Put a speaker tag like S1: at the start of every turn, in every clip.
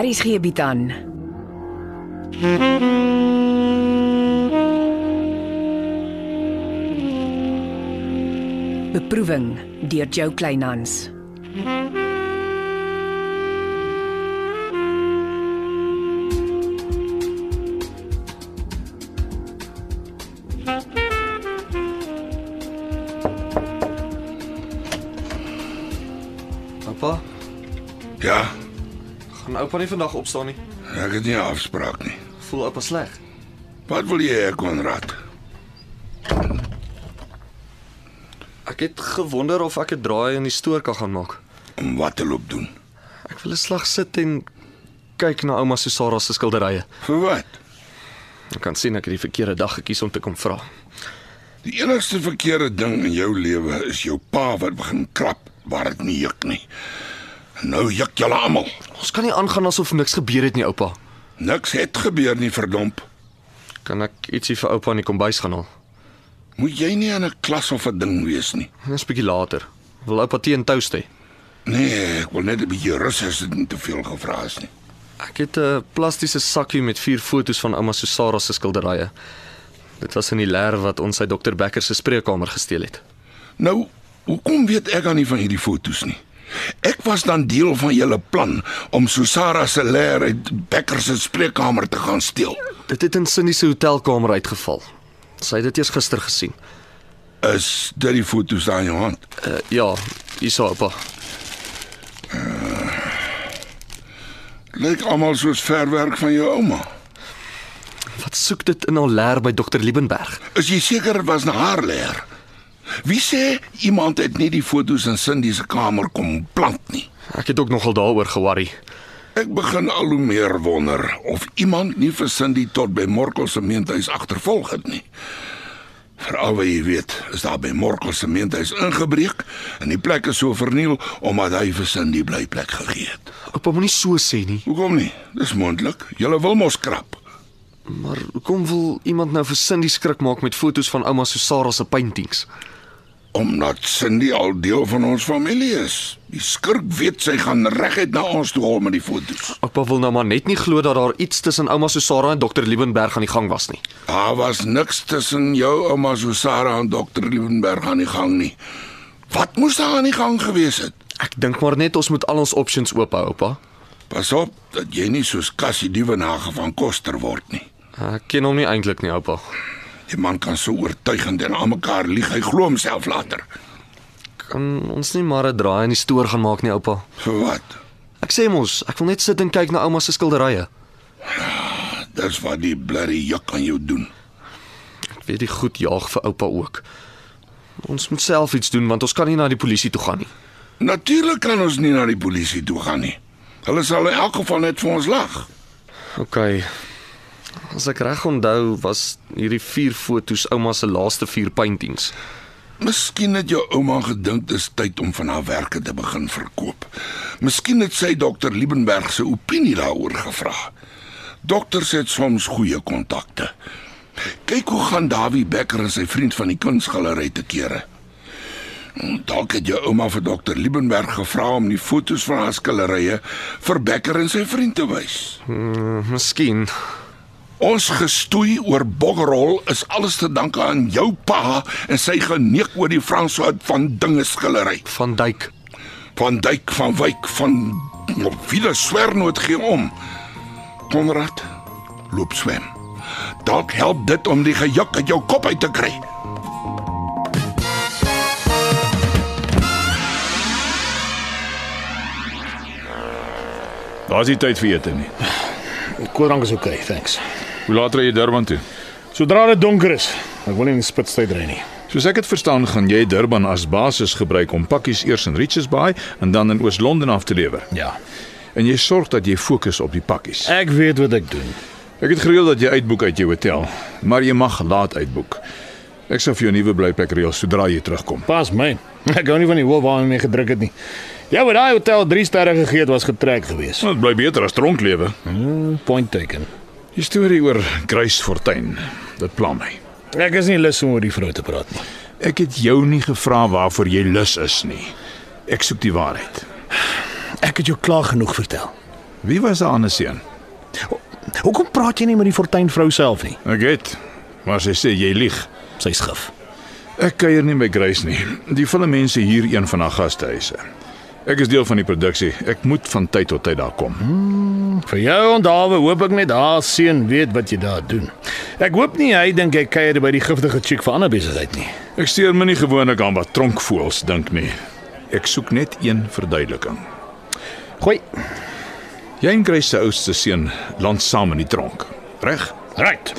S1: Aries gee bied aan. Beproeving deur Jo Kleinhans.
S2: Oupa,
S3: Ja,
S2: gaan oupa nie vandag opstaan nie.
S3: ek het nie 'n afspraak nie.
S2: Voel oupa sleg.
S3: Wat wil jy hê, Konrad?
S2: Ek het gewonder of ek 'n draai in die stoor kan gaan maak.
S3: Om wat te loop doen?
S2: Ek wil 'n slag sit en kyk na ouma Susara se skilderye.
S3: Vir wat?
S2: Ek kan sien ek het die verkeerde dag gekies om te kom vra.
S3: Die enigste verkeerde ding in jou lewe is jou pa wat begin krap waar dit nie juk nie. Nou juk julle almal.
S2: Ons kan nie aangaan asof niks gebeur het nie, oupa.
S3: Niks het gebeur nie, verdomp.
S2: Kan ek ietsie vir oupa in die kombuis gaan haal?
S3: Moet jy nie in 'n klas of 'n ding wees nie.
S2: Dis 'n bietjie later. Wil oupa tee en toast hê?
S3: Nee, ek wil net 'n bietjie rus as dit nie te veel gevra is nie.
S2: Ek het 'n plastiese sakkie met vier foto's van ouma Susara se skilderye. Dit was in die leer wat ons uit dokter Becker se spreekkamer gesteel het.
S3: Nou, hoekom weet ek dan nie van hierdie fotos nie? Ek was dan deel van julle plan om Susara se leer uit Becker se spreekkamer te gaan steel.
S2: Dit het in Cindy se hotelkamer uitgeval. Sy het dit eers gister gesien.
S3: Is dit die fotos daar in jou hand?
S2: Uh, ja, hier's oupa.
S3: Lyk almal soos verwerk van jou ouma.
S2: Wat soek dit in haar leer by dokter Liebenberg?
S3: Is jy seker dit was na haar leer? Wie sê iemand het nie die fotos in Cindy se kamer kom plant nie?
S2: Ek het ook nogal daaroor ge-worry.
S3: Ek begin al hoe meer wonder of iemand nie vir Cindy tot by Morkel se gemeentehuis agtervolg het nie. Veral wat jy weet, is daar by Morkel se gemeentehuis ingebreek en die plek is so verniel omdat hy vir Cindy blyplek gegee het.
S2: Oupa moenie so sê nie.
S3: Hoekom nie? Dis moontlik. Julle wil mos krap.
S2: Maar hoekom wil iemand nou vir Cindy skrik maak met foto's van ouma Susara se paintings?
S3: Omdat Cindy al deel van ons familie is. Die skurk weet sy gaan reguit na ons toe hom met die fotos.
S2: Oupa wil nou maar net nie glo dat daar iets tussen ouma Susara en dokter Liebenberg aan die gang was nie.
S3: Daar was niks tussen jou ouma Susara en dokter Liebenberg aan die gang nie. Wat moes daar aan die gang gewees het?
S2: Ek dink maar net ons moet al ons options oop hou, oupa.
S3: Pas op dat jy nie soos Cassie Dievenage van Koster word nie.
S2: Ek ken hom nie eintlik nie, oupa.
S3: Die man kan so oortuigend en aan mekaar lieg, hy glo homself later.
S2: Kan ons nie maar 'n draai in die stoor gaan maak nie, oupa?
S3: Vir wat?
S2: Ek sê mos, ek wil net sit en kyk na ouma se skilderye.
S3: Dis wat die blerrie juk aan jou doen.
S2: Ek weet die goed jaag vir oupa ook. Ons moet self iets doen want ons kan nie na die polisie toe gaan nie.
S3: Natuurlik kan ons nie na die polisie toe gaan nie. Hulle sal in elk geval net vir ons lag.
S2: OK. As ek reg onthou, was hierdie vier fotos ouma se laaste vier paintings.
S3: Miskien het jou ouma gedink dis tyd om van haar werke te begin verkoop. Miskien het sy dokter Liebenberg se opinie daaroor gevra. Dokters het soms goeie kontakte. Kyk hoe gaan Dawie Becker en sy vriend van die kunsgalery te kere. En Dalk het jou ouma vir dokter Liebenberg gevra om die fotos van haar skilderye vir Becker en sy vriend te wys.
S2: Mm, miskien.
S3: Ons gestoei oor boggerol is alles te danke aan jou pa en sy geneek oor die Fransoid van dinge skillery.
S2: Van Duyk.
S3: Van Dyk van Wyk van wiele swernoot gee om. Konrad, loop swem. Dalk help dit om die gejak uit jou kop uit te kry.
S4: Daar's nie tyd vir ete nie.
S5: Koolrank is oké, okay, thanks.
S4: Hoe laat ry jy Durban toe?
S5: Sodra dit donker is, ek wil nie in die spitstyd ry nie.
S4: Soos ek dit verstaan, gaan jy Durban as basis gebruik om pakkies eers in Richards Bay en dan in Oos-London af te lewer.
S5: Ja.
S4: En jy sorg dat jy fokus op die pakkies.
S5: Ek weet wat ek doen.
S4: Ek het gereël dat jy uitboek uit jou hotel, maar jy mag laat uitboek. Ek sal vir jou nuwe blyplek reël sodra jy terugkom.
S5: Pas my. Ek hou nie van die hoel waarin my gedruk het nie. Ja, maar daai hotel 3 sterre gegee het was getrek geweest.
S4: Dit bly beter as dronklewe.
S5: Point taken.
S4: Die storie oor Grace Fortuin, dit pla my.
S5: Ek is nie lus om oor die vrou te praat nie.
S4: Ek het jou nie gevra waarvoor jy lus is nie. Ek soek die waarheid.
S5: Ek het jou klaar genoeg vertel.
S4: Wie was haar ander seun?
S5: Hoekom praat jy nie met die Fortuin vrou self nie?
S4: Ek het, maar sy sê jy lieg.
S5: Sy's gif.
S4: Ek kuier nie by Grace nie. Die filmmense hier een van haar gastehuise. Ek is deel van die produksie. Ek moet van tyd tot tyd daar kom.
S5: Vir jou ondawe hoop ek net haar seun weet wat jy daar doen. Ek hoop nie hy dink hy kuier by die giftige chick vir ander besigheid nie.
S4: Ek steur my nie gewoonlik aan wat tronkvoëls dink nie. Ek soek net een verduideliking.
S5: Gooi.
S4: Jy en Grace se oudste seun land saam in die tronk. Reg?
S5: Right.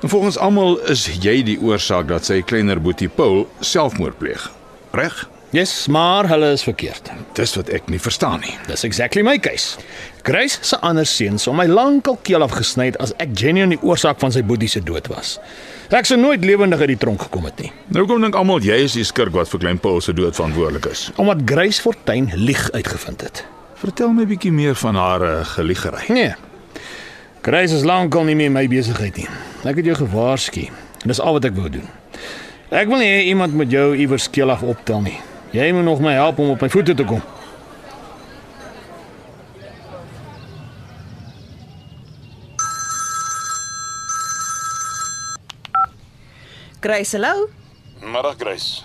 S4: En volgens almal is jy die oorsaak dat sy kleiner boetie Paul selfmoord pleeg. Reg?
S5: Yes, maar hulle is verkeerd.
S4: Dis wat ek nie verstaan nie.
S5: Dis exactly my case. Grace se ander seuns om my lankal keel afgesny het as ek genuine die oorsaak van sy boetie se dood was. Ek sou nooit lewendig uit die tronk gekom het nie,
S4: Nou kom dink almal jy is die skurk wat vir klein Paul se dood verantwoordelik is.
S5: omdat Grace Fortuin lieg uitgevind het.
S4: Vertel my bietjie meer van haar uh, geliegery.
S5: Nee. Grace is lankal nie meer my besigheid nie. Ek het jou gewaarsku. Dis al wat ek wou doen. Ek wil nie hê iemand moet jou iewers keel af optel nie. Jy moet nog my help om op my voete te kom.
S6: Grace, hallo.
S7: Middag Grace.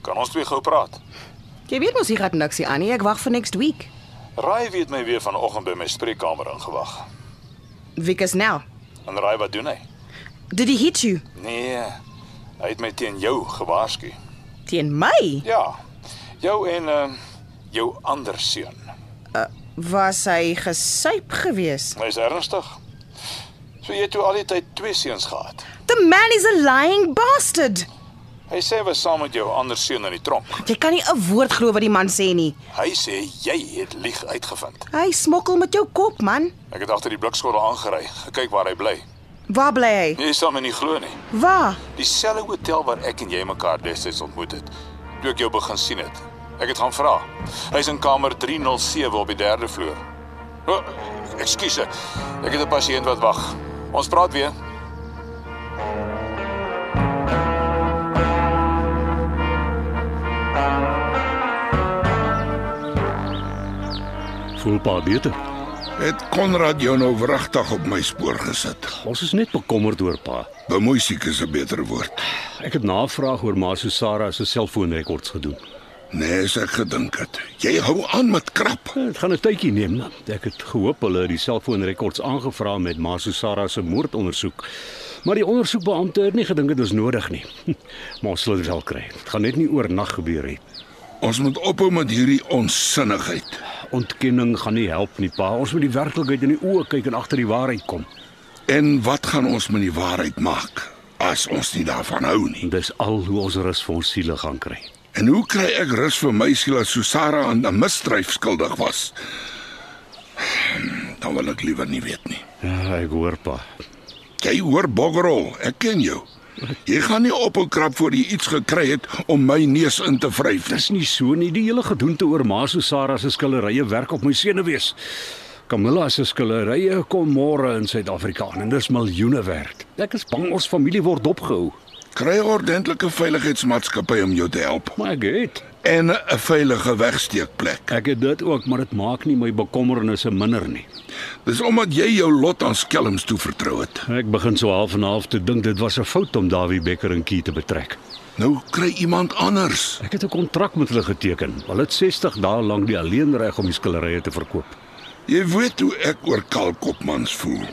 S7: Kan ons twee gou praat?
S6: Jy weet mos hier gaan niks hier aan nie. Ek wag vir next week.
S7: Raai wie het my weer vanoggend by my spreekkamer ingewag.
S6: Week is nou.
S7: En raai wat doen hy?
S6: Did he hit you?
S7: Nee. Hy het my teen jou gewaarsku.
S6: Teen my?
S7: Ja. Jou en ehm uh, jou ander seun.
S6: Was hy gesuip gewees?
S7: Hy's ernstig. So jy het toe al die tyd twee seuns gehad.
S6: The man is a lying bastard.
S7: Hy sê hy was saam met jou ander seun in die tronk.
S6: Jy kan nie 'n woord glo wat die man sê nie.
S7: Hy sê jy het lieg uitgevind.
S6: Hy smokkel met jou kop, man.
S7: Ek het agter die blikskottel aangery, gekyk waar hy bly.
S6: Waar bly hy?
S7: Jy sal my nie glo nie.
S6: Waar?
S7: Dieselfde hotel waar ek en jy mekaar destyds ontmoet het. Toe ek jou begin sien het. Ek het gaan vra. Hy's in kamer 307 op die 3de vloer. O, ekskuus. Ek het 'n pasiënt wat wag. Ons praat weer.
S8: Voel pa beter.
S3: Het Konrad jou nou wragtig op my spoor gesit?
S8: Ons is net bekommerd oor pa.
S3: Bemoei siek is 'n beter woord.
S8: Ek het navraag oor ma Susara se selfoonrekords gedoen.
S3: Nee, as ek gedink het. Jy hou aan met krap.
S8: Eh, Dit gaan 'n tydjie neem. man. Ek het gehoop hulle het die selfoonrekords aangevra met ma Susara se moordondersoek. Maar die ondersoekbeampte het nie gedink dit is nodig nie. Maar ons sal dit wel kry. Dit gaan net nie oornag gebeur nie.
S3: Ons moet ophou met hierdie onsinnigheid.
S8: Ontkenning gaan nie help nie, pa. Ons moet die werklikheid in die oë kyk en agter die waarheid kom.
S3: En wat gaan ons met die waarheid maak as ons nie daarvan hou nie?
S8: En dis al hoe ons rus vir ons siele gaan kry.
S3: En hoe kry ek rus vir my siel as Susara aan 'n misdrijf skuldig was? Dan wil ek liewer nie weet nie.
S8: Ja, ek hoor pa.
S3: Jy hoor Boggerol, ek ken jou. Jy gaan nie ophou krap voor jy iets gekry het om my neus in te vryf nie.
S8: Dis nie so nie. Die hele gedoente oor Ma Susara se skillerye werk op my senuwees. Camilla se skillerye kom môre in Suid-Afrika aan en dis miljoene werd. Ek is bang ons familie word opgehou.
S3: Kry 'n ordentlike veiligheidsmaatskappy om jou te help
S8: Maar ek het
S3: en 'n veilige wegsteekplek.
S8: ek het dit ook, maar dit maak nie my bekommernisse minder nie.
S3: Dis omdat jy jou lot aan skelms toe vertrou het.
S8: Ek begin so half en half te dink dit was 'n fout om Dawie Becker en Kie te betrek.
S3: Nou kry iemand anders.
S8: Ek het 'n kontrak met hulle geteken. Hulle het 60 dae lank die alleenreg om die skillerye te verkoop.
S3: Jy weet hoe ek oor kalkopmans voel.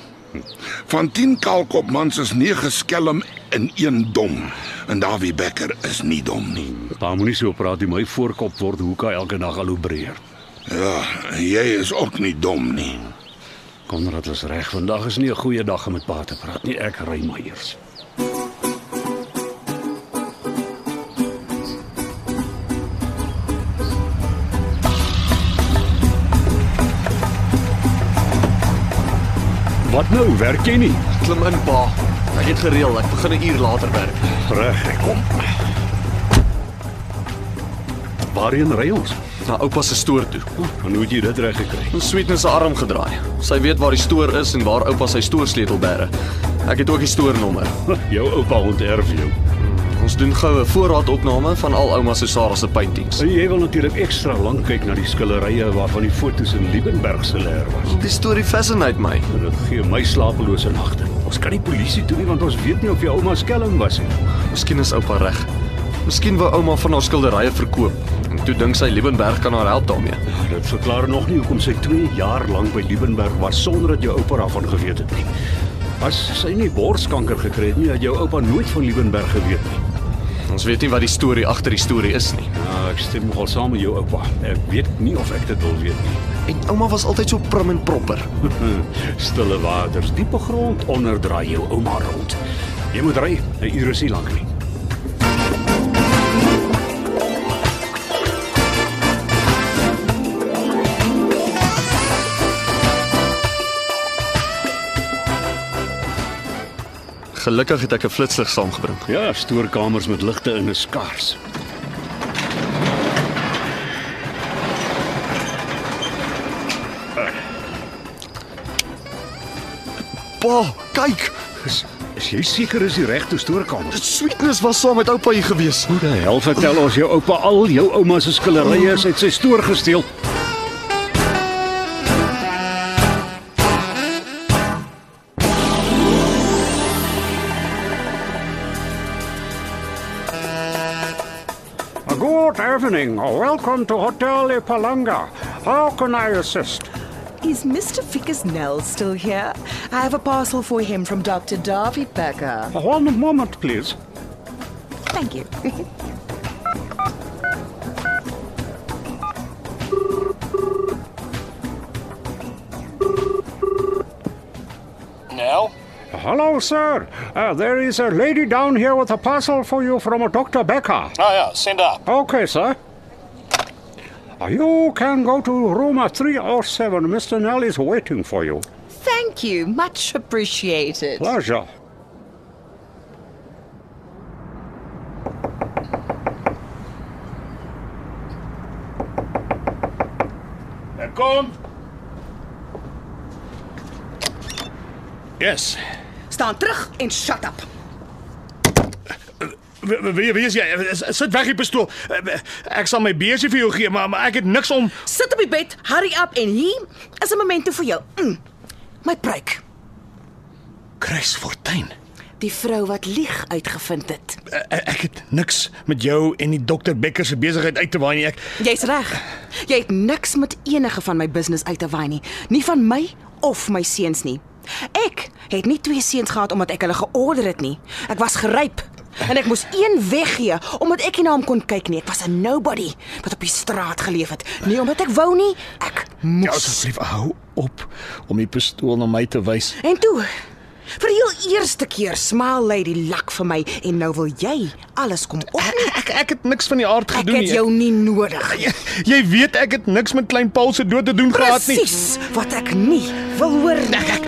S3: Van 10 kalkopmans is 9 skelm en 1 dom. En Dawie Becker is nie dom nie.
S8: Pa moenie so praat nie. My voorkop word hoeka elke dag al hoe breër.
S3: Ja, jy is ook nie dom nie.
S8: Konrad was reg. Vandag is nie 'n goeie dag om met pa te praat nie. Ek ry maar eers. Wat nou? Werk jy nie?
S2: Klim in, pa. Ek het gereël, ek begin 'n uur later werk.
S8: Reg, ek kom. Waarheen ry ons?
S2: Na oupa se stoor toe.
S8: Hoe het jy dit reg gekry?
S2: Ons Sweetness se arm gedraai. Sy weet waar die stoor is en waar oupa sy stoorsleutel bære. Ek het ook die stoornommer.
S8: Jou oupa onterf jou.
S2: Ons doen goue voorraadopname van al ouma Susara se paintings.
S8: Jy wil natuurlik ekstra lank kyk na die skilderye waarvan die fotos in Liebenberg se leer was.
S2: Die storie fascinate my.
S8: En dit gee my slapelose nagte. Ons kan nie polisie toe nie want ons weet nie of jou ouma skelm was nie.
S2: Miskien is oupa reg. Miskien wou ouma van haar skilderye verkoop en toe dink sy Liebenberg kan haar help daarmee.
S8: Dit verklaar nog nie hoekom sy 2 jaar lank by Liebenberg was sonder dat jou oupa daarvan geweet het nie. As sy nie borskanker gekry het nie, het jou oupa nooit van Liebenberg geweet nie.
S2: Ons weet nie wat die storie agter die storie is nie.
S8: Nou, ek stem nogal saam met jou oupa. Ek weet nie of ek dit wil weet nie. Hm,
S2: En ouma was altyd so prim en proper.
S8: Stille waters, diepe grond onderdraai jou ouma rond. Jy moet ry, 'n uur is nie lank nie.
S2: Gelukkig het ek 'n flitslig saamgebring.
S8: Ja, stoorkamers met ligte in is skaars.
S2: Pa, kyk,
S8: Is, is jy seker is die regte stoorkamer?
S2: sweetness was saam met oupa hier gewees.
S8: Hoe die hel vertel ons jou oupa al jou ouma se skillerye is uit sy stoor gesteel? Good evening. Welcome to Hotel Ipalanga. How can I assist?
S6: Is Mr. Ficus Nell still here? I have a parcel for him from Dr. Darby Becker.
S8: One moment, please.
S6: Thank you.
S7: Nel,
S8: Hello, sir. Uh, there is a lady down here with a parcel for you from Dr. Becker.
S7: nou ja, send up.
S8: Okay, sir. You can go to room 307. Mr. Nell is waiting for you.
S6: Thank you. Much appreciated.
S8: Pleasure.
S5: Ek kom. Yes.
S6: Staan terug en shut up.
S5: Wie wie is jy? eh, Sit weg die pistool. Eh, Ek sal my beursie vir jou gee, maar, maar ek het niks om
S6: Sit op die bed, hurry up en hier is 'n momento vir jou. Mm. My pruik.
S5: Chris Fortuin. eh,
S6: Die vrou wat lieg uitgevind het.
S5: Ek het niks met jou en die dokter Becker se besigheid uit te waai nie. Ek
S6: Jy's reg. Jy het niks met enige van my business uit te waai nie, nie van my of my seuns nie. Ek het nie twee seuns gehad omdat ek hulle georder het nie. Ek was geryp en ek moes een weggee omdat ek nie na hom kon kyk nie. Ek was 'n nobody wat op die straat geleef het. Nie omdat ek wou nie, ek
S5: Ja,
S6: moes.
S5: asseblief hou op om die pistool na my te wys.
S6: En toe vir die heel eerste keer smaal lady lak vir my en nou wil jy alles kom opneem.
S5: Ek ek het niks van die aard
S6: Ek
S5: gedoen
S6: het
S5: nie.
S6: jou nie nodig.
S5: Jy, jy weet ek het niks met klein Paul se dood te doen gehad nie. Nee,
S6: Presies wat ek nie wil hoor nie.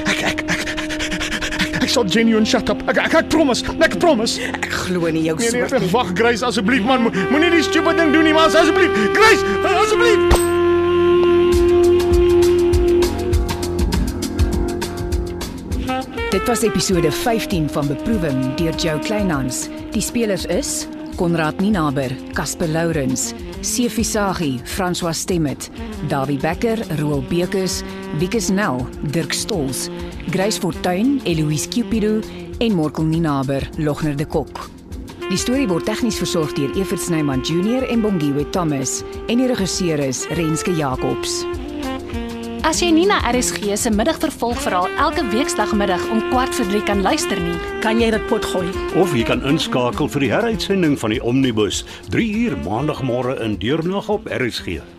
S5: Ek sal genuine shut up. Ek ek, ek promise. Ek promise.
S6: Ek glo nie jou
S5: Nee nee,
S6: soort
S5: nee
S6: nie.
S5: wag Grace asseblief man, Mo- moenie die stupid ding doen nie man, asseblief. Grace, asseblief.
S1: Dit was episode 15 van Beproewing deur Jo Kleinhans. Die spelers is Konrad Ninaber, Casper Lourens, Sefi Sagie, François Stemmet, Dawie Becker, Roel Bekus, Wikus Nel, Dirk Stols, Grace Fortuin, Eloise Cupido en Morkel Ninaber, Logner de Kok. Die storie word tegnies versorg deur Evert Snyman Junior en Bongwe Thomas en die regisseur is Renske Jacobs.
S9: As jy Nina RSG se middagvervolgverhaal elke weekdagmiddag om 14:30 kan luister nie,
S10: Kan jy dit potgooi?
S8: Of jy kan inskakel vir die heruitsending van die Omnibus 3 uur maandagmôre in deurnag op RSG.